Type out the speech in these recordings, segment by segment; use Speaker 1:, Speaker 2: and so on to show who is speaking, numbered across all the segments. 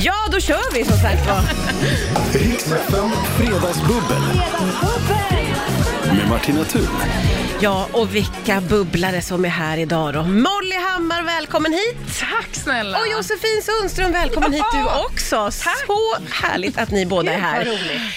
Speaker 1: Ja, då kör vi som sagt var.
Speaker 2: Riksfem Fredagsbubbel med Martina Thun.
Speaker 1: Ja, och vilka bubblare som är här idag då. Molly Hammar, välkommen hit!
Speaker 3: Tack snälla!
Speaker 1: Och Josefin Sundström, välkommen hit du också. Så härligt att ni båda är här.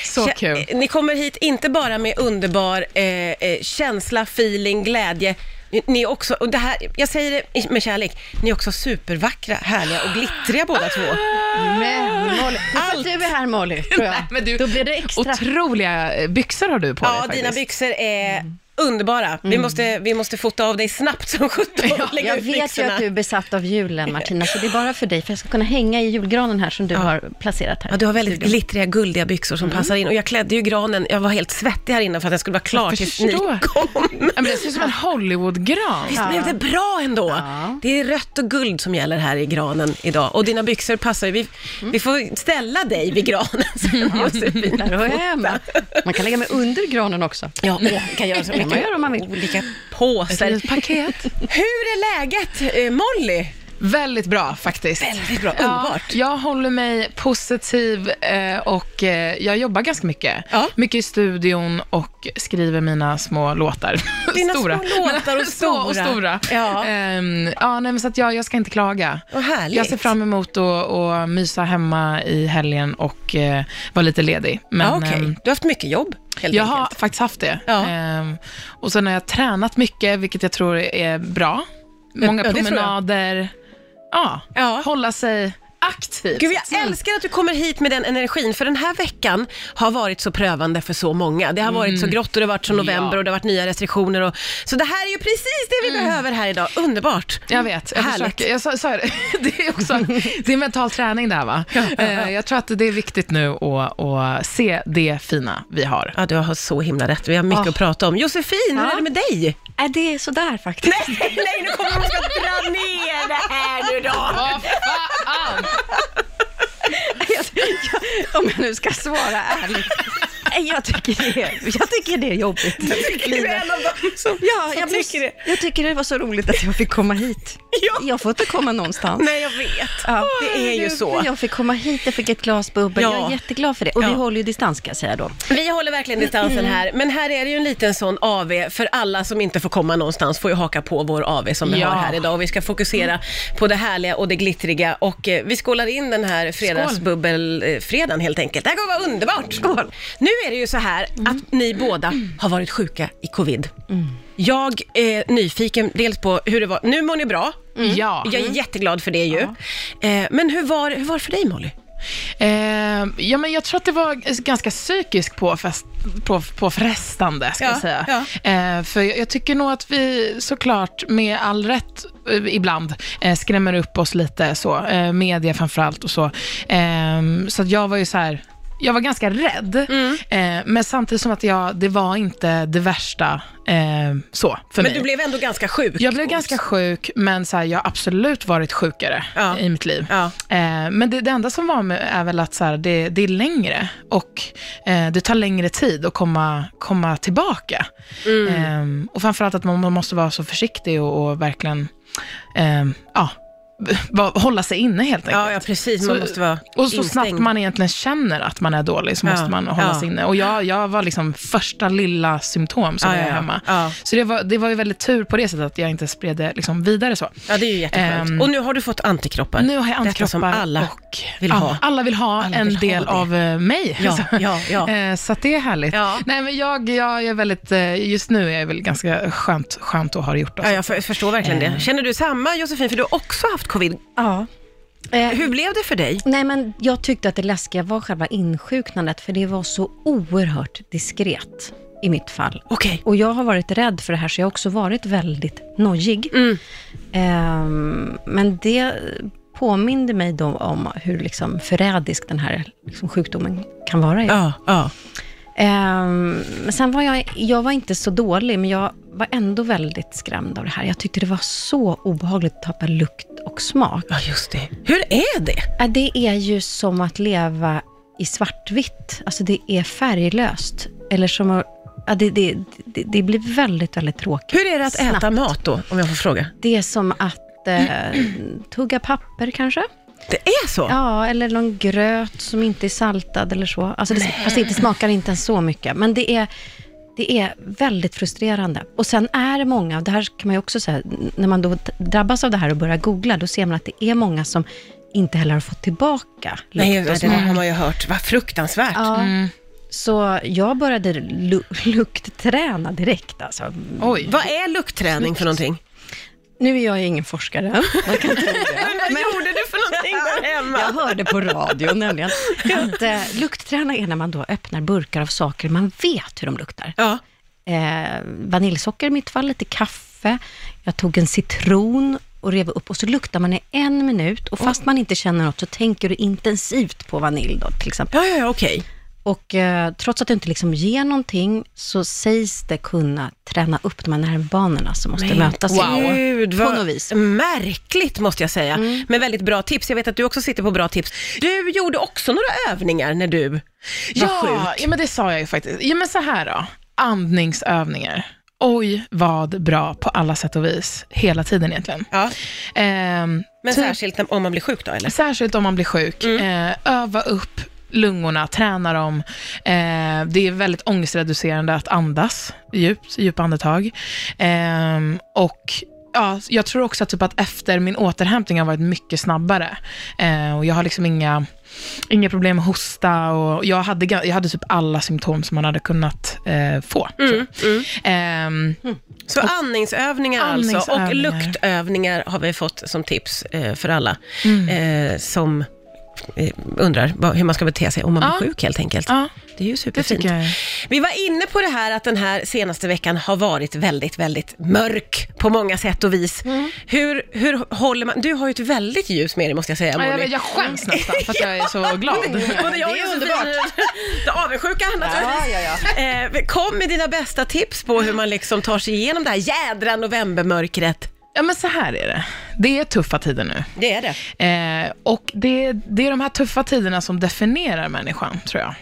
Speaker 3: Så
Speaker 1: Kä-
Speaker 3: kul.
Speaker 1: eh, Ni kommer hit inte bara med underbar eh, eh, känsla, feeling, glädje. Ni- Ni är också, och det här, jag säger det i- med kärlek, ni är också supervackra, härliga och glittriga båda
Speaker 4: Ah,
Speaker 1: två.
Speaker 4: Men Molly, nu satt
Speaker 1: Allt.
Speaker 4: du är här Molly, tror jag.
Speaker 3: Nej, men du,
Speaker 4: Då blir det extra.
Speaker 3: Otroliga eh, byxor har du på dig
Speaker 1: Ja,
Speaker 3: faktiskt.
Speaker 1: dina byxor är
Speaker 4: Mm.
Speaker 1: underbara. Vi, måste, vi måste fota av dig snabbt som sjutton och lägga
Speaker 4: Jag
Speaker 1: ut
Speaker 4: vet ju
Speaker 1: byxorna.
Speaker 4: att du är besatt av julen Martina, så det är bara för dig, för jag ska kunna hänga i julgranen här som du har placerat här.
Speaker 1: Ja, du har väldigt glittriga, guldiga byxor som
Speaker 3: Mm.
Speaker 1: passar in. Och jag klädde ju granen, jag var helt svettig här inne för att jag skulle vara klar
Speaker 3: Jag
Speaker 1: tills ni
Speaker 3: förstår.
Speaker 1: kom.
Speaker 3: Ja, men det ser ut som en Hollywoodgran.
Speaker 1: Visst blev det bra ändå? Det är rött och guld som gäller här i granen idag. Och dina byxor passar ju. Vi,
Speaker 3: Mm.
Speaker 1: vi får ställa dig vid granen sen, Josefin.
Speaker 4: Där och hemma. Man kan lägga mig under granen också.
Speaker 1: Ja, åh, kan göra så
Speaker 4: kan man göra om man vill.
Speaker 1: olika
Speaker 3: Ett
Speaker 1: påsar.
Speaker 3: litet paket.
Speaker 1: Hur är läget, eh, Molly?
Speaker 3: Väldigt bra faktiskt.
Speaker 1: Väldigt bra,
Speaker 3: Ja,
Speaker 1: underbart.
Speaker 3: jag håller mig positiv eh, och eh, jag jobbar ganska mycket.
Speaker 1: Ja.
Speaker 3: Mycket i studion och skriver mina små låtar.
Speaker 1: Dina små låtar och
Speaker 3: Små och
Speaker 1: stora.
Speaker 3: stora.
Speaker 1: Ja.
Speaker 3: Ehm, ja, nej, men så att jag, jag ska inte klaga.
Speaker 1: Vad härligt.
Speaker 3: Jag ser fram emot att, att mysa hemma i helgen och eh, vara lite ledig. Men,
Speaker 1: Ja, okej.
Speaker 3: ehm,
Speaker 1: Du har haft mycket jobb, helt
Speaker 3: jag har
Speaker 1: enkelt.
Speaker 3: faktiskt haft det.
Speaker 1: Ja.
Speaker 3: Ehm, och sen har jag tränat mycket, vilket jag tror är bra. Många
Speaker 1: ja, det tror jag.
Speaker 3: promenader. Ja,
Speaker 1: Ja.
Speaker 3: hålla sig aktiv.
Speaker 1: Gud, jag älskar att du kommer hit med den energin, för den här veckan har varit så prövande för så många. Det har varit så grått och det har varit så november
Speaker 3: Ja.
Speaker 1: och det har varit nya restriktioner. Och, så det här är ju precis det vi behöver här idag. Underbart!
Speaker 3: Jag vet, jag,
Speaker 1: Härligt.
Speaker 3: försöker, jag sa, sa ju det. det är också, det är mental träning det här va? Eh, jag tror att det är viktigt nu att, att se det fina vi har.
Speaker 1: Ja, du har så himla rätt. Vi har mycket
Speaker 4: Ah.
Speaker 1: att prata om. Josefin, hur
Speaker 4: Ja.
Speaker 1: är det med dig?
Speaker 4: Äh, det är sådär faktiskt.
Speaker 1: Nej, nu kommer hon ska dra ner det här nu då!
Speaker 3: Vad fan!
Speaker 4: Om jag nu ska svara ärligt. Nej, Jag tycker det, jag tycker det är jobbigt. Ja, jag, blir-
Speaker 1: tycker det.
Speaker 4: jag tycker det var så roligt att jag fick komma hit.
Speaker 1: Ja.
Speaker 4: Jag får inte komma någonstans.
Speaker 1: Nej, jag vet.
Speaker 4: Ja,
Speaker 1: det är ju
Speaker 4: herregud,
Speaker 1: så.
Speaker 4: men Jag fick komma hit, jag fick ett glas bubbel.
Speaker 1: Ja.
Speaker 4: Jag är jätteglad för det. Och
Speaker 1: Ja.
Speaker 4: vi håller ju distans ska jag säga då.
Speaker 1: Vi håller verkligen distansen
Speaker 3: Mm.
Speaker 1: här, men här är det ju en liten sån AV för alla som inte får komma någonstans får ju haka på vår AV som vi
Speaker 3: Ja. Mm.
Speaker 1: har här idag och vi ska fokusera på det härliga och det glittriga och eh, vi skålar in den här fredagsbubbelfredagen helt enkelt. Det här kommer vara underbart! Nu är det ju så här
Speaker 3: Mm.
Speaker 1: att ni båda har varit sjuka i covid. Jag är nyfiken dels på hur det var, nu mår ni bra,
Speaker 3: Mm. Ja.
Speaker 1: jag är jätteglad för det ju. Eh, Men hur var, hur var det för dig Molly?
Speaker 3: Eh, ja, men jag tror att det var ganska psykiskt påfest, på, påfrestande, ska
Speaker 1: Ja,
Speaker 3: jag säga.
Speaker 1: ja.
Speaker 3: Eh, för jag, jag tycker nog att vi såklart, med all rätt eh, ibland, eh, skrämmer upp oss lite så. Eh, media framförallt och så. Eh, så att jag var ju så här... Jag var ganska rädd,
Speaker 1: Mm.
Speaker 3: eh, men samtidigt som att jag, det var inte det värsta eh, så för
Speaker 1: Men
Speaker 3: mig.
Speaker 1: du blev ändå ganska sjuk.
Speaker 3: Jag blev ganska sjuk, men så här, jag har absolut varit sjukare
Speaker 1: Ja.
Speaker 3: i mitt liv.
Speaker 1: Ja.
Speaker 3: Eh, men det, det enda som var med är väl att så här, det, det är längre och eh, det tar längre tid att komma, komma tillbaka.
Speaker 1: Mm.
Speaker 3: Eh, och framförallt att man, man måste vara så försiktig och, och verkligen eh, ja, va- hålla sig inne helt enkelt.
Speaker 1: Ja, ja precis. Man
Speaker 3: Så-
Speaker 1: måste vara
Speaker 3: Och så
Speaker 1: instängd.
Speaker 3: snabbt man egentligen känner att man är dålig så måste
Speaker 1: Ja,
Speaker 3: man hålla
Speaker 1: ja.
Speaker 3: sig inne. Och jag, jag var liksom första lilla symptom som
Speaker 1: Ja,
Speaker 3: jag
Speaker 1: ja,
Speaker 3: är
Speaker 1: ja.
Speaker 3: hemma.
Speaker 1: Ja.
Speaker 3: Så det var, det var ju väldigt tur på det sättet att jag inte spred det liksom vidare så.
Speaker 1: Ja, det är ju jätteskönt.
Speaker 3: Ehm,
Speaker 1: och nu har du fått antikroppar.
Speaker 3: Nu har jag
Speaker 1: Detta
Speaker 3: antikroppar
Speaker 1: som alla
Speaker 3: och
Speaker 1: vill
Speaker 3: Ja,
Speaker 1: ha.
Speaker 3: alla vill ha
Speaker 1: Alla
Speaker 3: en
Speaker 1: vill ha
Speaker 3: del
Speaker 1: det.
Speaker 3: av eh, mig.
Speaker 1: Ja,
Speaker 3: Så-
Speaker 1: ja, ja.
Speaker 3: Eh, Så att det är härligt.
Speaker 1: Ja.
Speaker 3: Nej, men jag, jag är väldigt, eh, just nu är jag väl ganska skönt, skönt att ha det gjort. alltså. Också.
Speaker 1: Ja, jag för- förstår verkligen det. Känner du samma Josefin, för du har också haft covid.
Speaker 4: Ja. Eh,
Speaker 1: Hur blev det för dig?
Speaker 4: Nej, men jag tyckte att det läskiga var själva insjuknandet, för det var så oerhört diskret i mitt fall.
Speaker 1: Okej.
Speaker 4: Och jag har varit rädd för det här, så jag har också varit väldigt nojig.
Speaker 1: Mm.
Speaker 4: Ehm, men det påminde mig då om hur liksom förrädisk den här liksom sjukdomen kan vara.
Speaker 1: Ja, ja.
Speaker 4: Ehm, men sen var jag, jag var inte så dålig, men jag var ändå väldigt skrämd av det här. Jag tyckte det var så obehagligt att tappa lukt och smak.
Speaker 1: Ja, just det. Hur är det?
Speaker 4: Ja, Det är ju som att leva i svartvitt. Alltså det är färglöst. Eller som att, ja, det, det, det, det blir väldigt, väldigt tråkigt.
Speaker 1: Hur är det att äta
Speaker 4: Snabbt.
Speaker 1: mat då, om jag får fråga?
Speaker 4: Det är som att eh, tugga papper kanske.
Speaker 1: Det är så?
Speaker 4: Ja, eller någon gröt som inte är saltad eller så. Alltså det, fast det smakar inte ens så mycket. Men det är, det är väldigt frustrerande. Och sen är det många, och det här kan man ju också säga, när man då drabbas av det här och börjar googla, då ser man att det är många som inte heller har fått tillbaka
Speaker 1: Nej, alltså,
Speaker 4: lukt och
Speaker 1: det där
Speaker 4: smak.
Speaker 1: har man ju hört. Vad fruktansvärt.
Speaker 4: Ja. Så jag började lu- luktträna direkt. Alltså.
Speaker 3: Oj.
Speaker 1: Vad är luktträning för någonting?
Speaker 4: Nu är jag ju ingen forskare. Man kan tro det.
Speaker 1: Vad gjorde du för någonting där hemma?
Speaker 4: Jag hörde på radio nämligen att eh, luktträna är när man då öppnar burkar av saker man vet hur de luktar.
Speaker 1: Ja.
Speaker 4: Eh, vaniljsocker i mitt fall, lite kaffe. Jag tog en citron och rev upp och så luktar man i en minut och fast man inte känner något så tänker du intensivt på vanilj då till exempel.
Speaker 1: Ja, ja, ja, okej.
Speaker 4: Och eh, trots att det inte liksom ger någonting så sägs det kunna träna upp de här nervbanorna som måste mötas.
Speaker 1: Gud,
Speaker 4: På
Speaker 1: vad
Speaker 4: något vis.
Speaker 1: märkligt måste jag säga. Men väldigt bra tips. Jag vet att du också sitter på bra tips. Du gjorde också några övningar när du var
Speaker 3: Ja,
Speaker 1: sjuk.
Speaker 3: ja, men det sa jag ju faktiskt. Ja, men så här då. Andningsövningar. Oj, vad bra på alla sätt och vis. Hela tiden egentligen.
Speaker 1: Ja.
Speaker 3: Ehm,
Speaker 1: Men
Speaker 3: typ-
Speaker 1: särskilt om man blir sjuk då, eller?
Speaker 3: Särskilt om man blir sjuk.
Speaker 1: Mm.
Speaker 3: Eh, öva upp lungorna, träna dem. Eh, det är väldigt ångestreducerande att andas djupt, djupa andetag. Eh, och ja, jag tror också att, typ att efter min återhämtning har varit mycket snabbare. Eh, och jag har liksom inga, inga problem med hosta och jag hade, ga- jag hade typ alla symptom som man hade kunnat eh, få. tror
Speaker 1: Mm,
Speaker 3: jag. Ehm,
Speaker 1: Så andningsövningar, alltså och
Speaker 3: Andningsövningar.
Speaker 1: luktövningar har vi fått som tips eh, för alla eh, som eh, undrar vad- hur man ska bete sig om man
Speaker 3: Ja.
Speaker 1: blir sjuk helt enkelt.
Speaker 3: ja,
Speaker 1: Det är ju
Speaker 3: det
Speaker 1: superfint.
Speaker 3: tycker jag. är-
Speaker 1: Vi var inne på det här att den här senaste veckan har varit väldigt, väldigt mörk på många sätt och vis. Hur, hur håller man... Du har ju ett väldigt ljus med dig måste jag säga,
Speaker 3: Ja, jag,
Speaker 1: Molly.
Speaker 3: vet, jag skäms nästan för att jag är så glad.
Speaker 1: Både jag och
Speaker 4: Det är
Speaker 1: Josefin
Speaker 4: underbart.
Speaker 1: är avundsjuka naturligtvis. Eh, kom med dina bästa tips på hur man liksom tar sig igenom det här jädra novembermörkret.
Speaker 3: Ja, men så här är det. Det är tuffa tider nu.
Speaker 1: Det är det.
Speaker 3: Eh, och det, det är de här tuffa tiderna som definierar människan, tror jag.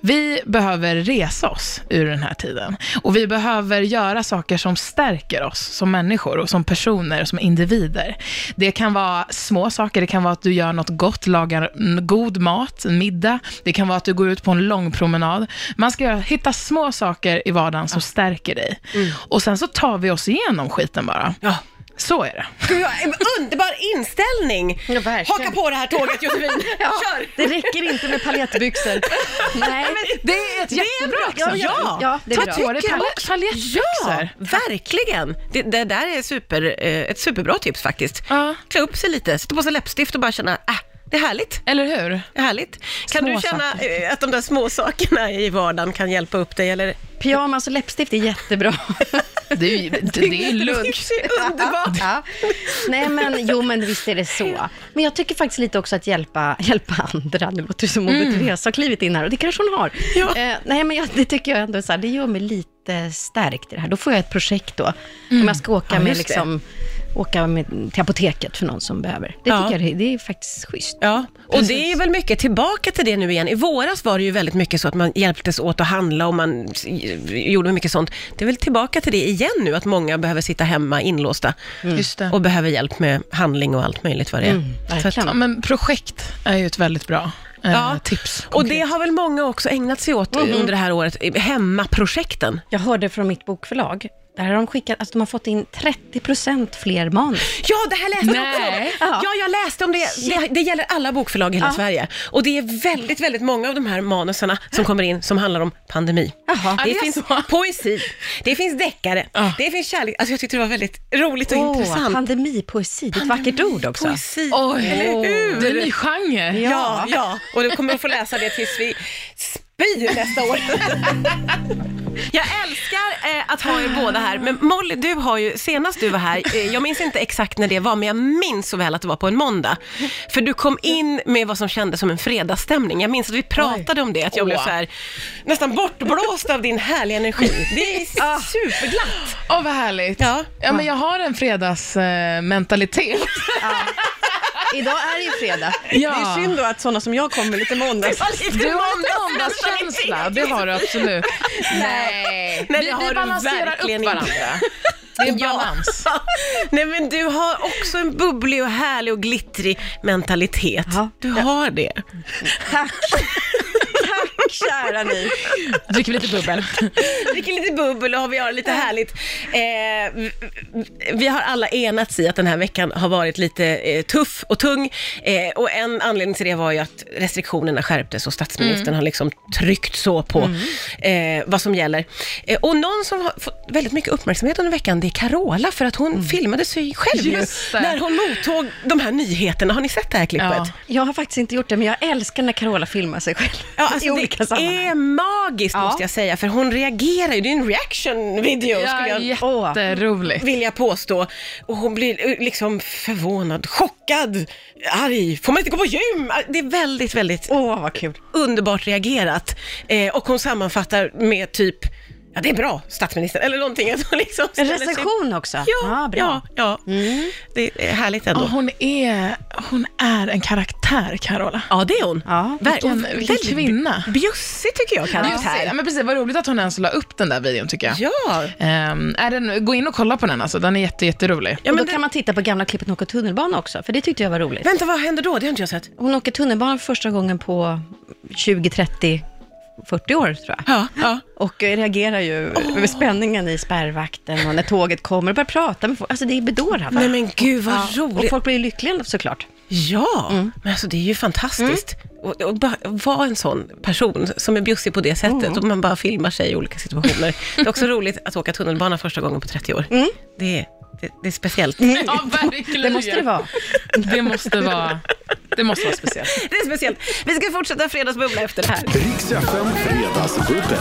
Speaker 3: Vi behöver resa oss ur den här tiden. Och vi behöver göra saker som stärker oss som människor och som personer, som individer. Det kan vara små saker, det kan vara att du gör något gott, lagar mm, god mat, en middag. Det kan vara att du går ut på en lång promenad. Man ska göra, hitta små saker i vardagen som stärker dig. Och sen så tar vi oss igenom skiten bara.
Speaker 1: Mm. Ja.
Speaker 3: Så är det.
Speaker 1: Gud, jag- en underbar inställning!
Speaker 4: Ja, verkligen.
Speaker 1: Haka på det här tåget Josefin, kör!
Speaker 4: Det räcker inte med paljettbyxor. Nej.
Speaker 3: Det är ett jättebra exempel.
Speaker 1: Ja,
Speaker 4: Ja, det är
Speaker 3: Ta
Speaker 4: bra.
Speaker 3: på dig
Speaker 1: Tycker jag
Speaker 3: palj-
Speaker 1: också.
Speaker 3: paljettbyxor.
Speaker 1: Verkligen! Det, det där är super, eh, ett superbra tips faktiskt.
Speaker 3: Ja.
Speaker 1: Klä upp sig lite, sätta på sig läppstift och bara känna, äh, det är härligt.
Speaker 3: Eller hur?
Speaker 1: det är Härligt. Kan
Speaker 3: Små
Speaker 1: du känna eh, att de där små sakerna i vardagen kan hjälpa upp dig? Eller?
Speaker 4: Pyjamas och läppstift är jättebra.
Speaker 3: Det är, ju- det, det är lugnt.
Speaker 1: Det är Underbart!
Speaker 4: Ja. Nej, men jo, men visst är det så. Men jag tycker faktiskt lite också att hjälpa, hjälpa andra. Nu låter det som Moder Teresa har klivit in här och det kanske hon har.
Speaker 1: Mm. Ja.
Speaker 4: Eh, nej, men jag, det tycker jag ändå är så här, det gör mig lite stärkt i det här. Då får jag ett projekt då. Om jag ska åka,
Speaker 1: Mm. Ja,
Speaker 4: med,
Speaker 1: just det.
Speaker 4: liksom, åka med, till apoteket för någon som behöver. Det
Speaker 1: Ja.
Speaker 4: tycker jag det, det är faktiskt schysst.
Speaker 1: Ja, och det är väl mycket tillbaka till det nu igen. I våras var det ju väldigt mycket så att man hjälptes åt att handla och man s- eh, gjorde mycket sånt. Det är väl tillbaka till det igen nu, att många behöver sitta hemma inlåsta
Speaker 3: Mm. Just det. Mm.
Speaker 1: och behöver hjälp med handling och allt möjligt vad det är. Så att,
Speaker 4: verkligen.
Speaker 3: Ja, men projekt är ju ett väldigt bra eh,
Speaker 1: Ja.
Speaker 3: tips. Mm-hmm.
Speaker 1: och det har väl många också ägnat sig åt under det här året, i- hemmaprojekten.
Speaker 4: Jag hörde från mitt bokförlag, där har de skickat, alltså de har fått in 30% fler manus.
Speaker 1: Ja, det här läste jag också
Speaker 3: Nej.
Speaker 1: om. Ja, jag läste om det. det. Det gäller alla bokförlag i hela Sverige. Och det är väldigt, väldigt många av de här manuserna som kommer in som handlar om pandemi.
Speaker 4: Jaha.
Speaker 1: Det
Speaker 3: Ja, det är
Speaker 1: finns
Speaker 3: så.
Speaker 1: poesi, det finns deckare,
Speaker 3: Ja.
Speaker 1: det finns kärlek. Alltså jag tyckte det var väldigt roligt och
Speaker 4: Åh,
Speaker 1: intressant.
Speaker 4: pandemipoesi, det är ett vackert ord också.
Speaker 1: Poesi.
Speaker 3: Oj,
Speaker 1: Eller hur?
Speaker 3: det är en ny genre.
Speaker 1: Ja, ja. Och du kommer att få läsa det tills vi spyr nästa år. Jag älskar eh, att ha er båda här, men Molly, du har ju, senast du var här, eh, jag minns inte exakt när det var, men jag minns så väl att det var på en måndag. För du kom in med vad som kändes som en fredagsstämning. Jag minns att vi pratade om det, att jag blev
Speaker 3: Åh.
Speaker 1: så här, nästan bortblåst av din härliga energi. Det är superglatt.
Speaker 3: Åh, vad härligt.
Speaker 1: Ja.
Speaker 3: Ja. men jag har en fredagsmentalitet. Eh, mentalitet.
Speaker 4: Idag är det ju fredag.
Speaker 3: ja.
Speaker 5: Det är synd då att sådana som jag kommer lite måndags.
Speaker 3: Du har lite måndagskänsla, det har du absolut. Nej,
Speaker 1: Nej, det
Speaker 3: vi,
Speaker 1: har du
Speaker 3: vi balanserar
Speaker 1: verkligen
Speaker 3: upp
Speaker 1: inte.
Speaker 3: varandra. Det är en balans.
Speaker 1: Nej men du har också en bubblig och härlig och glittrig mentalitet.
Speaker 4: Ja.
Speaker 1: Du har det.
Speaker 5: Tack! Tack kära ni.
Speaker 3: Dricker lite bubbel.
Speaker 1: Dricker lite bubbel och har- vi har lite härligt. Eh, vi- vi har alla enats i att den här veckan har varit lite eh, tuff och tung. Eh, och en anledning till det var ju att restriktionerna skärptes och statsministern har liksom tryckt så på eh, vad som gäller. Eh, och någon som har fått väldigt mycket uppmärksamhet under veckan, det är Carola, för att hon filmade sig själv ju,
Speaker 3: Just det.
Speaker 1: när hon mottog de här nyheterna. Har ni sett det här klippet?
Speaker 3: Ja.
Speaker 4: Jag har faktiskt inte gjort det, men jag älskar när Carola filmar sig själv
Speaker 1: Ja, alltså
Speaker 4: i olika
Speaker 1: det
Speaker 4: sammanhang.
Speaker 1: är magiskt
Speaker 4: Ja.
Speaker 1: måste jag säga, för hon reagerar ju. Det är en reaction video skulle
Speaker 3: Ja,
Speaker 1: jag
Speaker 3: jätteroligt.
Speaker 1: vill jag påstå. Och hon blir eh, liksom förvånad, chockad, arg. Får man inte gå på gym? Ah, Det är väldigt, väldigt
Speaker 4: Åh, vad kul.
Speaker 1: underbart reagerat. Eh, och hon sammanfattar med typ, ja det är bra statsministern, eller någonting. Att hon liksom
Speaker 4: En
Speaker 1: ställer sig-
Speaker 4: recension också.
Speaker 1: Ja,
Speaker 4: Ah, bra. Mm.
Speaker 1: ja, ja. Det är härligt ändå.
Speaker 3: Ja, hon, är, hon är en karaktär, Carola.
Speaker 1: Ja, det är hon.
Speaker 4: Ja,
Speaker 1: Ver-
Speaker 3: vilken-
Speaker 1: och
Speaker 3: vilken
Speaker 1: väldigt
Speaker 3: kvinna.
Speaker 1: Bjussig tycker jag
Speaker 3: Just det.
Speaker 1: karaktär.
Speaker 3: Ja, men precis, vad roligt att hon ens la upp den där videon, tycker jag.
Speaker 1: Ja.
Speaker 3: Ehm, är den, gå in och kolla på den, alltså. den är jätte, jätterolig.
Speaker 1: Ja,
Speaker 4: och då
Speaker 1: men det-
Speaker 4: kan man titta på gamla klippet när hon åker tunnelbana också, för det tyckte jag var roligt.
Speaker 1: Vänta, vad händer då? Det har inte jag sett.
Speaker 4: Hon åker tunnelbana för första gången på 20, 30, 40 år tror jag.
Speaker 1: Ja, ja.
Speaker 4: Och eh, reagerar ju över spänningen i spärrvakten och när tåget kommer och börjar prata med folk. Alltså det är bedårande.
Speaker 1: Nej men gud vad roligt.
Speaker 4: Och folk Mm. blir ju lyckliga såklart.
Speaker 1: Ja, men alltså det är ju fantastiskt.
Speaker 4: Mm.
Speaker 1: Och, och bara vara en sån person som är bjussig på det sättet
Speaker 4: Mm.
Speaker 1: och man bara filmar sig i olika situationer. det är också roligt att åka tunnelbana första gången på 30 år.
Speaker 4: Mm.
Speaker 1: Det, är- det, det är speciellt.
Speaker 3: Ja, verkligen.
Speaker 4: Det måste det vara.
Speaker 3: Det måste vara, det måste vara speciellt.
Speaker 1: Det är speciellt. Vi ska fortsätta Fredagsbubbla efter det här.
Speaker 2: Riks FM Fredagsbubbel.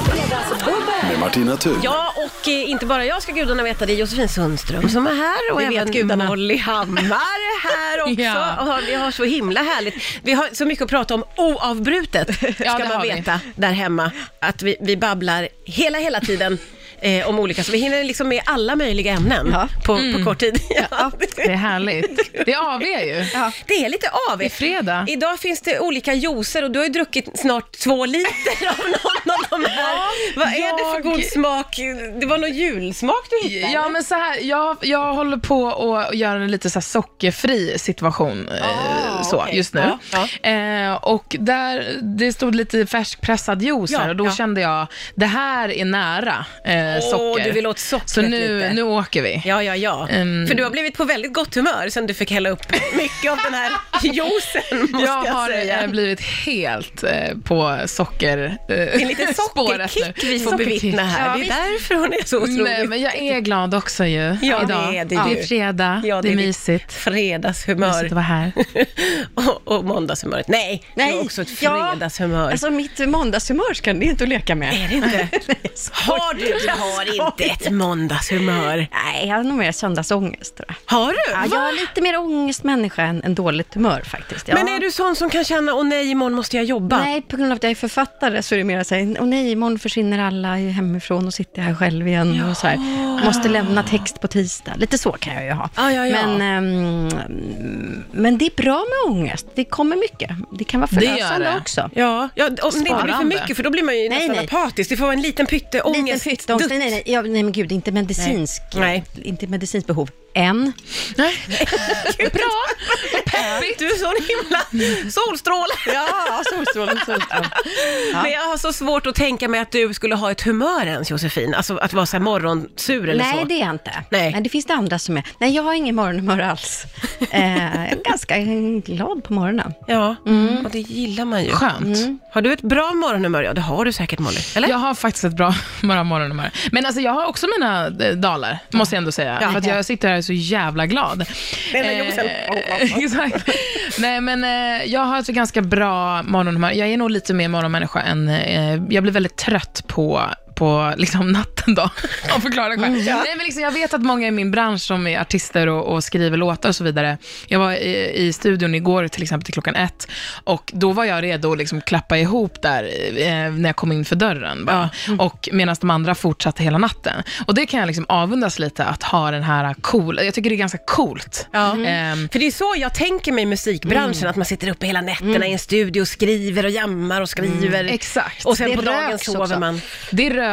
Speaker 2: Med Martina Thun.
Speaker 1: Ja, och eh, inte bara jag ska gudarna veta, det är Josefin Sundström som är här och
Speaker 4: Det vet
Speaker 1: även
Speaker 4: gudarna.
Speaker 1: Molly Hammar är här också.
Speaker 3: Ja.
Speaker 1: och har- vi har så himla härligt. Vi har så mycket att prata om oavbrutet, ska
Speaker 3: Ja, det
Speaker 1: man
Speaker 3: har vi.
Speaker 1: veta, där hemma. Att vi, vi babblar hela, hela tiden. Eh, om olika, så vi hinner liksom med alla möjliga ämnen
Speaker 4: Ja.
Speaker 1: på, på kort tid. Mm. Ja.
Speaker 3: Det är härligt. Det är AV ju.
Speaker 1: Det är lite av.
Speaker 3: Det är fredag.
Speaker 1: Idag finns det olika juicer och du har ju druckit snart två liter av någon av de här. Vad är det för
Speaker 3: jag-
Speaker 1: god smak? Det var någon julsmak du hittade?
Speaker 3: Ja, men så här, jag, jag håller på att göra en lite så här sockerfri situation eh, så,
Speaker 1: Ah, okej.
Speaker 3: just nu.
Speaker 1: Ja,
Speaker 3: Eh, och där, det stod lite färskpressad juice
Speaker 1: Ja,
Speaker 3: här och då
Speaker 1: ja.
Speaker 3: kände jag, det här är nära eh,
Speaker 1: Åh,
Speaker 3: socker.
Speaker 1: du vill åt sockret
Speaker 3: Så nu,
Speaker 1: lite.
Speaker 3: nu åker vi.
Speaker 1: Ja, ja, ja.
Speaker 3: Ehm.
Speaker 1: För du har blivit på väldigt gott humör sen du fick hälla upp mycket av den här juicen, måste
Speaker 3: Jag
Speaker 1: jag,
Speaker 3: har
Speaker 1: säga.
Speaker 3: eh, blivit helt eh, på socker eh,
Speaker 1: en liten
Speaker 3: spåret
Speaker 1: sockerkick
Speaker 3: nu.
Speaker 1: vi får
Speaker 3: Sockerkick.
Speaker 1: bevittna här.
Speaker 3: Ja,
Speaker 1: det är
Speaker 3: visst.
Speaker 1: därför hon är så otroligt...
Speaker 3: Nej, men jag är glad också ju
Speaker 1: Ja,
Speaker 3: idag.
Speaker 1: det är det
Speaker 3: det
Speaker 1: ju.
Speaker 3: är fredag,
Speaker 1: Ja,
Speaker 3: det är
Speaker 1: ditt
Speaker 3: mysigt. Mysigt
Speaker 1: Fredagshumör.
Speaker 3: att vara här.
Speaker 1: och, och måndagshumöret. Nej, det är också ett
Speaker 4: Ja,
Speaker 1: fredagshumör.
Speaker 4: Alltså mitt måndagshumör ska det är inte att leka med.
Speaker 1: är det inte? har du? Du har inte ett måndagshumör.
Speaker 4: Nej, jag har nog mer söndagsångest tror jag.
Speaker 1: Har du?
Speaker 4: Ja, jag är lite mer ångestmänniska än, än dåligt humör faktiskt. Ja.
Speaker 1: Men är du sån som kan känna, åh nej, imorgon måste jag jobba?
Speaker 4: Nej, på grund av att jag är författare så är det mer så här, åh nej, imorgon försvinner alla hemifrån och sitter jag här själv igen och så här, måste lämna text på tisdag. Lite så kan jag ju ha.
Speaker 1: Ja, ja, ja.
Speaker 4: Men, ehm, men det är bra med ångest, det kommer mycket. Det kan vara
Speaker 3: gör
Speaker 4: förlösande
Speaker 3: det.
Speaker 4: också.
Speaker 1: Ja, ja om det inte blir för
Speaker 3: Sparande.
Speaker 1: mycket, för då blir man ju
Speaker 4: Nej,
Speaker 1: nästan
Speaker 4: nej.
Speaker 1: apatisk. Det får vara en liten
Speaker 4: Liten
Speaker 1: pytteångest.
Speaker 4: fyttångest, nej, nej, nej, ja, nej men gud, inte medicinsk,
Speaker 1: Nej.
Speaker 4: inte medicinskt behov, än.
Speaker 3: Nej. Bra, vad peppigt.
Speaker 1: Du är sån himla solstråle.
Speaker 4: Ja, solstrålen, solstrålen.
Speaker 1: Men jag har så svårt att tänka mig att du skulle ha ett humör ens Josefin. Alltså att vara så här morgonsur eller så.
Speaker 4: Nej, det är jag inte.
Speaker 1: Nej.
Speaker 4: Men det finns det andra som är. Nej, jag har ingen morgonhumör alls. Eh, jag är ganska glad på morgonen.
Speaker 1: Ja,
Speaker 4: Mm.
Speaker 1: och det gillar man ju.
Speaker 3: Skönt.
Speaker 1: Har du ett bra morgonhumör? Ja, det har du säkät Molly. Eller?
Speaker 3: Jag har faktiskt ett bra bra morgonnummer. Men alltså, jag har också mina eh, dalar, måste jag ändå säga. För att jag sitter här så jävla glad. Eh,
Speaker 1: Det är den josen.
Speaker 3: exakt. Nej, men eh, jag har ett ganska bra morgonhumör. Jag är nog lite mer morgonmänniska än... Eh, jag blir väldigt trött på på liksom natten då, av förklarliga skäl. Nej, men liksom, jag vet att många i min bransch som är artister och, och skriver låtar och så vidare. Jag var i, i studion igår till exempel till klockan ett och då var jag redo att liksom klappa ihop där eh, när jag kom in för dörren. Bara. Och medan de andra fortsatte hela natten. Och det kan jag liksom avundas lite att ha den här cool, jag tycker det är ganska coolt. Ehm,
Speaker 1: För det är så jag tänker mig i musikbranschen,
Speaker 3: Mm.
Speaker 1: att man sitter uppe hela nätterna i en studio och skriver och jammar och skriver.
Speaker 3: Mm. Exakt.
Speaker 1: Och sen
Speaker 4: Det
Speaker 1: på dagen
Speaker 4: röks
Speaker 1: sover
Speaker 4: också.
Speaker 1: man.
Speaker 3: Det rökt.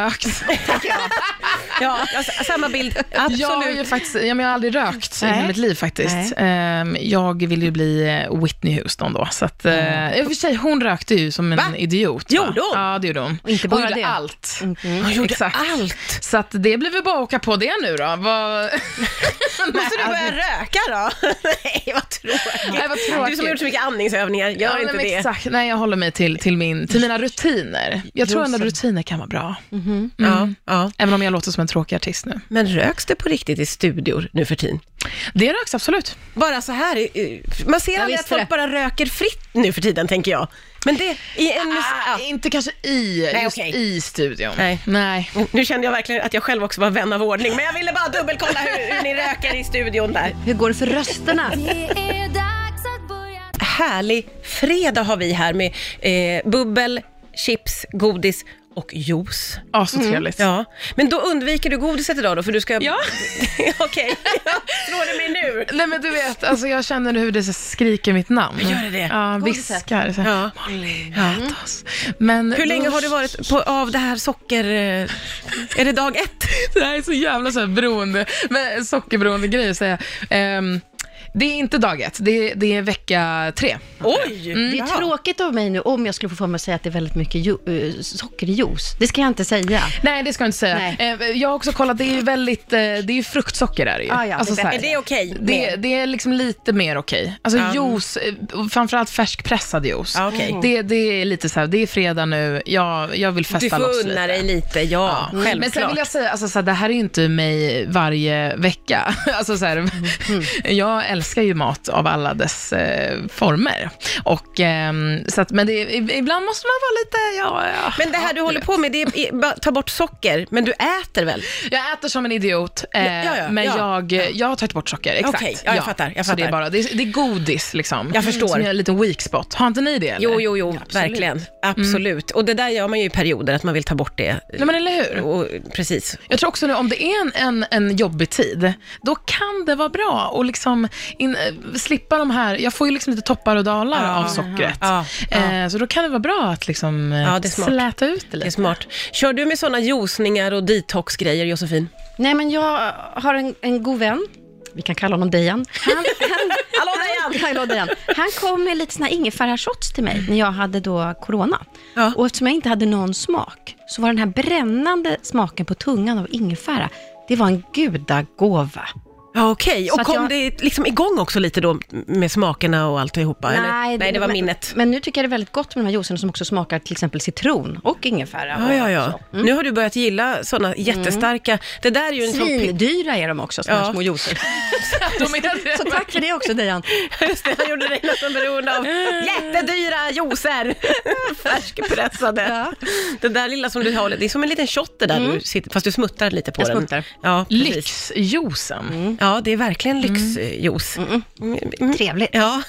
Speaker 1: Ja, ja, samma bild. Absolut.
Speaker 3: Jag har, ju faktiskt, ja, men jag har aldrig rökt i hela mitt liv faktiskt. Ehm, jag vill ju bli eh, Whitney Houston då. Så att, mm. I och för sig, hon rökte ju som en
Speaker 1: Va?
Speaker 3: idiot.
Speaker 1: Gjorde hon?
Speaker 3: Ja, det gjorde hon.
Speaker 4: Och inte bara
Speaker 3: hon gjorde
Speaker 4: det.
Speaker 3: allt.
Speaker 1: Hon gjorde
Speaker 3: Exakt.
Speaker 1: allt.
Speaker 3: Så att det blir väl bara att åka på det nu då. Vad...
Speaker 1: Måste du börja röka då? Nej, vad tråkigt.
Speaker 3: Alltså- Nej, vad
Speaker 1: Du
Speaker 3: tråkigt.
Speaker 1: som har gjort så mycket andningsövningar, gör
Speaker 3: Ja,
Speaker 1: inte
Speaker 3: men
Speaker 1: det.
Speaker 3: Exakt. Nej, jag håller mig till, till, min, till mina rutiner. Jag tror ändå rutiner kan vara bra.
Speaker 1: Ja,
Speaker 3: Mm.
Speaker 1: ja.
Speaker 3: Även om jag låter som en tråkig artist nu.
Speaker 1: Men röks det på riktigt i studior nu för tiden?
Speaker 3: Det röks absolut.
Speaker 1: Bara så här, eh, man ser aldrig att
Speaker 4: visste
Speaker 1: folk
Speaker 4: det.
Speaker 1: bara röker fritt nu för tiden, tänker jag. Men det, i en mus-
Speaker 3: Ah, inte kanske i,
Speaker 1: Nej,
Speaker 3: just
Speaker 1: okej.
Speaker 3: i studion.
Speaker 1: Nej.
Speaker 3: Nej.
Speaker 1: ja. Nu kände jag verkligen att jag själv också var vän av ordning, men jag ville bara dubbelkolla hur, hur ni röker i studion där.
Speaker 4: Hur går det för rösterna?
Speaker 6: Det är dags att börja
Speaker 1: Härlig fredag har vi här med eh, bubbel, chips, godis och juice.
Speaker 3: Ja, Ah, så trevligt.
Speaker 1: Ja, men då undviker du godiset idag då, för du ska...
Speaker 3: Ja.
Speaker 1: Okej, slår det mig nu?
Speaker 3: Nej men du vet, alltså jag känner hur det så skriker mitt namn.
Speaker 1: Gör det det?
Speaker 3: Ja, viskar. Så.
Speaker 1: Ja.
Speaker 3: Ja. Men
Speaker 1: Hur länge har du varit på, av det här socker... eh, Är det dag ett?
Speaker 3: Det här är så jävla så här beroende, men sockerberoende grej att säga. Ehm, det är inte dag ett, det är, det är vecka tre.
Speaker 1: Oj!
Speaker 3: Mm,
Speaker 4: Det är tråkigt av mig nu om jag skulle få för mig att säga att det är väldigt mycket ju- eh, sockerjuice. Det ska jag inte säga.
Speaker 3: Nej, det ska jag inte säga.
Speaker 4: Nej.
Speaker 3: Eh, jag har också kollat, det är ju väldigt, eh, det är ju fruktsocker är det ju. Alltså,
Speaker 4: Ah, ja, det är
Speaker 3: så
Speaker 1: Är
Speaker 3: här.
Speaker 1: det okej?
Speaker 3: Det, det är liksom lite mer okej. Alltså juice, eh, och framförallt färskpressad juice.
Speaker 1: Ja, Ah, okej.
Speaker 3: Det, det är lite så här, det är fredag nu, jag, jag vill festa
Speaker 1: Du får
Speaker 3: loss
Speaker 1: unna
Speaker 3: lite. Mm,
Speaker 1: dig lite, ja. Självklart.
Speaker 3: Men sen vill jag säga, alltså, så här, det här är ju inte mig varje vecka. Alltså, så här,
Speaker 1: Mm-hmm.
Speaker 3: Jag älskar ju mat av alla dess eh, former. Och, ehm, så att, men det, i- ibland måste man vara lite, ja, ja.
Speaker 1: Men det här du håller på med, det är är bara ta bort socker, men du äter väl?
Speaker 3: Jag äter som en idiot, eh,
Speaker 1: Ja, ja, ja,
Speaker 3: men
Speaker 1: ja.
Speaker 3: Jag, jag har tagit bort socker. Exakt.
Speaker 1: Okej, ja, jag fattar, jag
Speaker 3: Så det,
Speaker 1: fattar.
Speaker 3: är bara, det, är, det är godis, liksom.
Speaker 1: Jag förstår.
Speaker 3: Som är en liten weak spot. Har inte ni det? eller?
Speaker 1: Jo, jo, jo, verkligen. Absolut. Och det där gör man ju i perioder, att man vill ta bort det.
Speaker 3: Nej, men eller hur?
Speaker 1: Och, precis.
Speaker 3: Jag tror också nu, om det är en, en, en jobbig tid, då kan det vara bra att liksom in, eh, slippa de här... Jag får ju liksom lite toppar och dalar
Speaker 1: Ja,
Speaker 3: av sockret.
Speaker 1: ja, ja.
Speaker 3: Eh, så då kan det vara bra att liksom eh,
Speaker 1: Ja, det är smart.
Speaker 3: släta ut det
Speaker 1: Det är
Speaker 3: lite.
Speaker 1: smart. Kör du med sådana juicningar och detox-grejer, Josefin?
Speaker 4: Nej, men jag har en, en god vän. Vi kan kalla honom Dejan. Han, han,
Speaker 1: Hallå, Dejan!
Speaker 4: Hallå Dejan! Han kom med lite såna här ingefärashots till mig när jag hade då corona.
Speaker 1: Ja.
Speaker 4: Och eftersom jag inte hade någon smak, så var den här brännande smaken på tungan av ingefära, det var en gudagåva.
Speaker 1: Ja, okej.
Speaker 4: Så
Speaker 1: Och
Speaker 4: att
Speaker 1: kom
Speaker 4: jag-
Speaker 1: det liksom igång också lite då med smakerna och alltihopa? eller? Nej det var
Speaker 4: men,
Speaker 1: minnet.
Speaker 4: Men nu tycker jag det är väldigt gott med de här juicerna som också smakar till exempel citron och ingefära.
Speaker 1: Ja, ja,
Speaker 4: och
Speaker 1: ja. Nu har du börjat gilla sådana jättestarka. Det där är ju en
Speaker 4: så.
Speaker 1: sån... py-
Speaker 4: Svindyra är de också, såna här
Speaker 1: Ja.
Speaker 4: små juicer.
Speaker 3: De är
Speaker 4: Så tack för det också Dejan.
Speaker 1: Just det, han gjorde dig nästan beroende av jättedyra juicer. Färskpressade. Det där lilla som du har, det är som en liten shot det där du sitter, fast du smuttar lite på
Speaker 4: Jag
Speaker 1: den.
Speaker 4: smuttar.
Speaker 1: Ja, precis. Mm.
Speaker 3: Lyxjuicen.
Speaker 1: Ja, det är verkligen lyxjuice. Mm.
Speaker 4: Trevligt.
Speaker 1: Ja.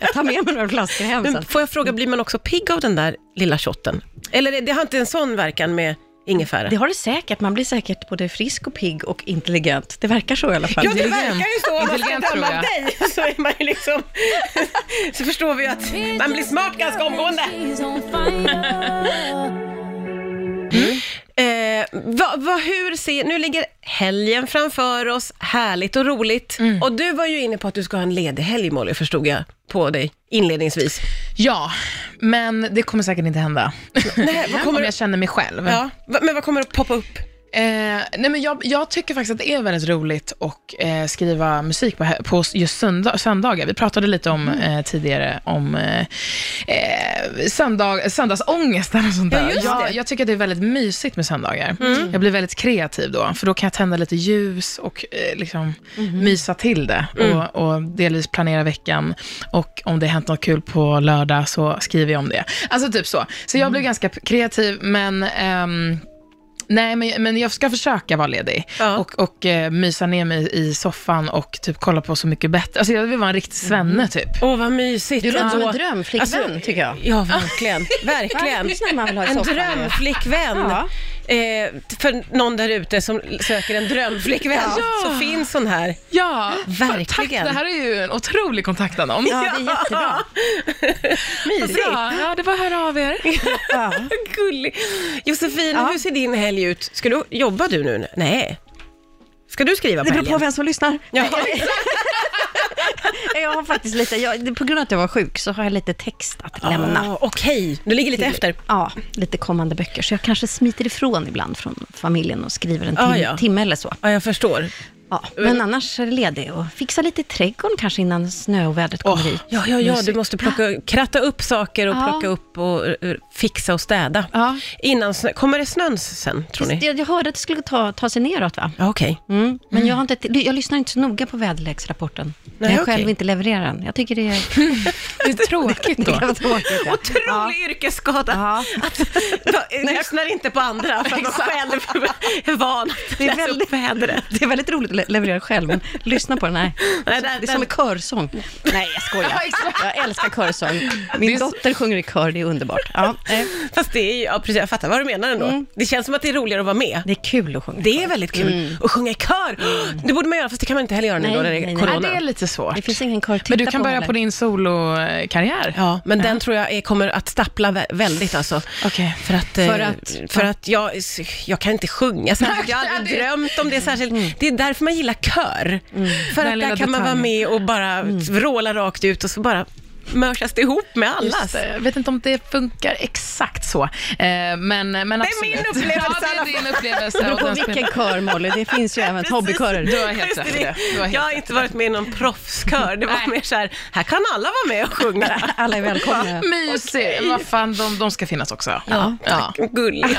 Speaker 4: Jag tar med mig några flaskor hem sen.
Speaker 1: Men får jag fråga, blir man också pigg av den där lilla shotten? Eller det, det har inte en sån verkan med ingefära?
Speaker 4: Det har det säkert. Man blir säkert både frisk och pigg och intelligent. Det verkar så i alla fall.
Speaker 1: Ja, det
Speaker 3: Intelligent.
Speaker 1: verkar ju så. Om man ska
Speaker 3: Intelligent,
Speaker 1: döma
Speaker 3: tror jag.
Speaker 1: dig så är man ju liksom... Så förstår vi ju att man blir smart ganska omgående.
Speaker 6: She's on fire.
Speaker 1: Eh, va, va, hur ser... Nu ligger helgen framför oss, härligt och roligt. Och du var ju inne på att du ska ha en ledig helg, Molly, förstod jag på dig inledningsvis.
Speaker 3: Ja, men det kommer säkert inte hända.
Speaker 1: Nej, vad kommer
Speaker 3: Om
Speaker 1: det,
Speaker 3: jag känner mig själv.
Speaker 1: ja, va, men vad kommer att poppa upp?
Speaker 3: Eh, nej men jag, jag tycker faktiskt att det är väldigt roligt att eh, skriva musik på, hä- på just söndag, söndagar. Vi pratade lite om eh, tidigare om eh, eh, söndag, söndagsångesten och sånt där.
Speaker 1: just det.
Speaker 3: jag, jag tycker att det Mm. är väldigt mysigt med söndagar. Jag blir väldigt kreativ då, för då kan jag tända lite ljus och eh, liksom mysa till det och, och delvis planera veckan. Och om det har hänt något kul på lördag så skriver jag om det. Alltså typ så. Så jag blev ganska p- kreativ, men ehm, Nej, men, men jag ska försöka vara ledig
Speaker 1: Ja.
Speaker 3: och, och eh, mysa ner mig i soffan och typ kolla på Så mycket bättre. Alltså jag vill vara en riktig svenne typ.
Speaker 1: Åh, vad mysigt.
Speaker 4: Du låter som
Speaker 1: Ja.
Speaker 4: en drömflickvän,
Speaker 1: Alltså,
Speaker 4: tycker jag.
Speaker 1: Ja, verkligen. verkligen.
Speaker 4: Varför lyssnar man väl ha i
Speaker 1: En
Speaker 4: soffan?
Speaker 1: drömflickvän.
Speaker 4: Ja.
Speaker 1: eh, för någon där ute som söker en drömflickvän
Speaker 3: Ja.
Speaker 1: så finns hon här.
Speaker 3: Ja,
Speaker 1: Verkligen.
Speaker 3: Tack, det här är ju en otrolig kontaktannons.
Speaker 4: Ja, det är jättebra.
Speaker 1: Mysigt.
Speaker 3: Bra, ja, det var att höra av er.
Speaker 4: Ja.
Speaker 1: Gullig. Josefin,
Speaker 5: Ja.
Speaker 1: hur ser din helg ut? Ska du, jobbar du nu? Nej. Ska du skriva
Speaker 5: Det
Speaker 1: på
Speaker 5: beror på
Speaker 1: helgen?
Speaker 5: vem som lyssnar.
Speaker 1: Ja.
Speaker 4: Jag har faktiskt lite, jag, på grund av att jag var sjuk så har jag lite text att lämna.
Speaker 1: Ah, Okej, du ligger lite efter.
Speaker 4: Ja, lite kommande böcker. Så jag kanske smiter ifrån ibland från familjen och skriver en tim-
Speaker 1: Ah, ja.
Speaker 4: timme eller så.
Speaker 1: Ja, jag förstår.
Speaker 4: Ja, men annars är det ledig och fixa lite i trädgården kanske innan snöovädret kommer hit.
Speaker 1: Ja, ja, ja, du måste plocka, kratta upp saker och
Speaker 4: Ja.
Speaker 1: plocka upp och eh, fixa och städa.
Speaker 3: Ja.
Speaker 1: Innan snö, kommer det snön sen, tror
Speaker 4: Visst,
Speaker 1: ni?
Speaker 4: Jag, jag hörde att det skulle ta, ta sig neråt va?
Speaker 1: Ja, okej.
Speaker 4: Mm. Men jag, har inte, jag lyssnar inte så noga på väderleksrapporten.
Speaker 1: Nej,
Speaker 4: jag själv
Speaker 1: okej.
Speaker 4: inte levererar den. Jag tycker det är,
Speaker 3: Det är tråkigt
Speaker 4: det
Speaker 3: då.
Speaker 4: är tråkigt. ja. Ja.
Speaker 1: Otrolig yrkesskada.
Speaker 4: Ja.
Speaker 1: Att, jag lyssnar inte på andra för att de själv är van att
Speaker 4: Det är,
Speaker 1: läsa upp
Speaker 4: väldigt,
Speaker 1: vädret.
Speaker 4: det är väldigt roligt att le- leverera själv, men lyssna på den här.
Speaker 1: Nej,
Speaker 4: det
Speaker 1: den-
Speaker 4: är som en körsång. Nej, jag skojar. Jag älskar körsång. Min
Speaker 3: Det är så-
Speaker 4: dotter sjunger i kör, det är underbart. Ja, eh,
Speaker 1: Fast det är ju, ja precis, jag fattar vad du menar ändå.
Speaker 4: Mm.
Speaker 1: Det känns som att det är roligare att vara med.
Speaker 4: det är kul att sjunga.
Speaker 1: Det är väldigt kul. Och sjunga i kör! Det borde man göra, fast det kan man inte heller göra nu
Speaker 4: Mm.
Speaker 1: då när det är
Speaker 4: Nej, nej, nej.
Speaker 3: Nej,
Speaker 1: corona.
Speaker 3: det är lite svårt.
Speaker 4: Det finns ingen kör att titta
Speaker 3: Men du kan
Speaker 4: på
Speaker 3: börja
Speaker 4: heller.
Speaker 3: på din solokarriär.
Speaker 1: Ja, men den tror jag är, kommer att stappla vä- väldigt alltså.
Speaker 3: Okej.
Speaker 1: För att, eh,
Speaker 4: För att-
Speaker 1: för att jag, jag kan inte sjunga särskilt. Jag har aldrig drömt om det särskilt. Det är därför man gillar kör. För
Speaker 3: Mm. Den
Speaker 1: att
Speaker 3: lilla
Speaker 1: där kan man vara
Speaker 3: detaljen.
Speaker 1: med
Speaker 3: Mm.
Speaker 1: och bara vråla rakt ut och så bara mörsas det ihop med alla.
Speaker 3: Just det. Jag vet inte om det funkar exakt så, eh, men, men Det
Speaker 1: är min upplevelse
Speaker 3: Ja, det
Speaker 1: i
Speaker 3: är
Speaker 1: alla
Speaker 3: din upplevelse.
Speaker 4: Det beror
Speaker 3: och den
Speaker 4: på
Speaker 3: spelar-
Speaker 4: vilken kör, Molly. Det finns ju även
Speaker 3: Du
Speaker 4: hobbykörer.
Speaker 3: har helt
Speaker 1: Just
Speaker 3: rätt i
Speaker 1: det.
Speaker 3: det. Du har helt
Speaker 1: Jag har
Speaker 3: rätt.
Speaker 1: inte varit med i någon proffskör. Det var
Speaker 3: Nej.
Speaker 1: mer så här, här kan alla vara med och sjunga.
Speaker 4: Alla är välkomna.
Speaker 3: Mysigt. Vad fan, de, de ska finnas också.
Speaker 4: Ja.
Speaker 3: Ja.
Speaker 1: Gulligt.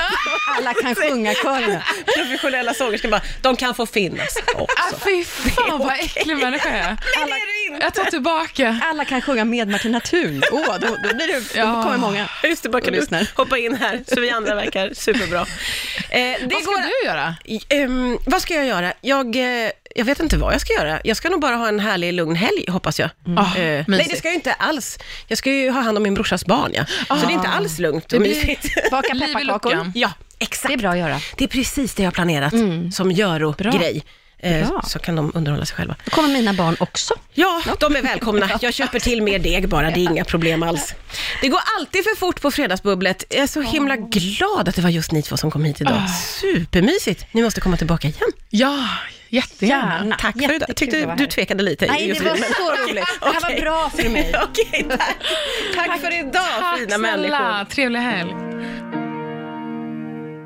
Speaker 4: Alla kan sjunga körerna.
Speaker 1: Professionella sångerskor bara, de kan få finnas
Speaker 3: Ah,
Speaker 1: också.
Speaker 3: fy fan vad äcklig människa jag är.
Speaker 1: Nej, det är du inte.
Speaker 3: Jag tar tillbaka.
Speaker 4: Alla kan sjunga med Martina Thun. Åh, då, då, blir det, då
Speaker 3: Ja.
Speaker 4: kommer många.
Speaker 1: Ja, Just det, bara kan
Speaker 4: Och
Speaker 1: du
Speaker 4: lyssnar.
Speaker 1: hoppa in här, så vi andra verkar superbra. Eh, det
Speaker 3: Vad ska du göra?
Speaker 1: Ehm, vad ska jag göra? Jag, eh, jag vet inte vad jag ska göra. Jag ska nog bara ha en härlig, lugn helg, hoppas jag.
Speaker 4: Mm.
Speaker 3: Ah,
Speaker 1: Eh, nej,
Speaker 3: mysigt.
Speaker 1: det ska jag ju inte alls. Jag ska ju ha hand om min brorsas barn, ja. Så det är inte
Speaker 4: Ah.
Speaker 1: alls lugnt och mysigt.
Speaker 4: Baka
Speaker 3: Liv i
Speaker 4: pepparkakor.
Speaker 3: luckan.
Speaker 1: ja,
Speaker 4: Det
Speaker 1: exakt.
Speaker 4: är bra att göra.
Speaker 1: Det är precis det jag har planerat som Göro-grej. Eh,
Speaker 4: Bra.
Speaker 1: så kan de underhålla sig själva.
Speaker 4: Då kommer mina barn också.
Speaker 1: Ja, de är välkomna. Jag köper till mer deg bara, det är inga problem alls. Det går alltid för fort på Fredagsbubblet. Jag är så himla glad att det var just ni två som kom hit idag. Supermysigt. Ni måste komma tillbaka igen.
Speaker 3: Ja, jättegärna.
Speaker 4: Gärna.
Speaker 1: Tack för idag. Jag
Speaker 4: Jättekul att
Speaker 1: tyckte
Speaker 4: vara
Speaker 1: du
Speaker 4: här.
Speaker 1: tvekade lite.
Speaker 4: Nej, det
Speaker 1: Josefin,
Speaker 4: var
Speaker 1: men-
Speaker 4: så roligt. Det här var
Speaker 1: Okej.
Speaker 4: bra för mig.
Speaker 1: Okej, tack. Tack för idag,
Speaker 3: Tack
Speaker 1: fina
Speaker 3: Ah, snälla.
Speaker 1: människor.
Speaker 3: Trevlig helg.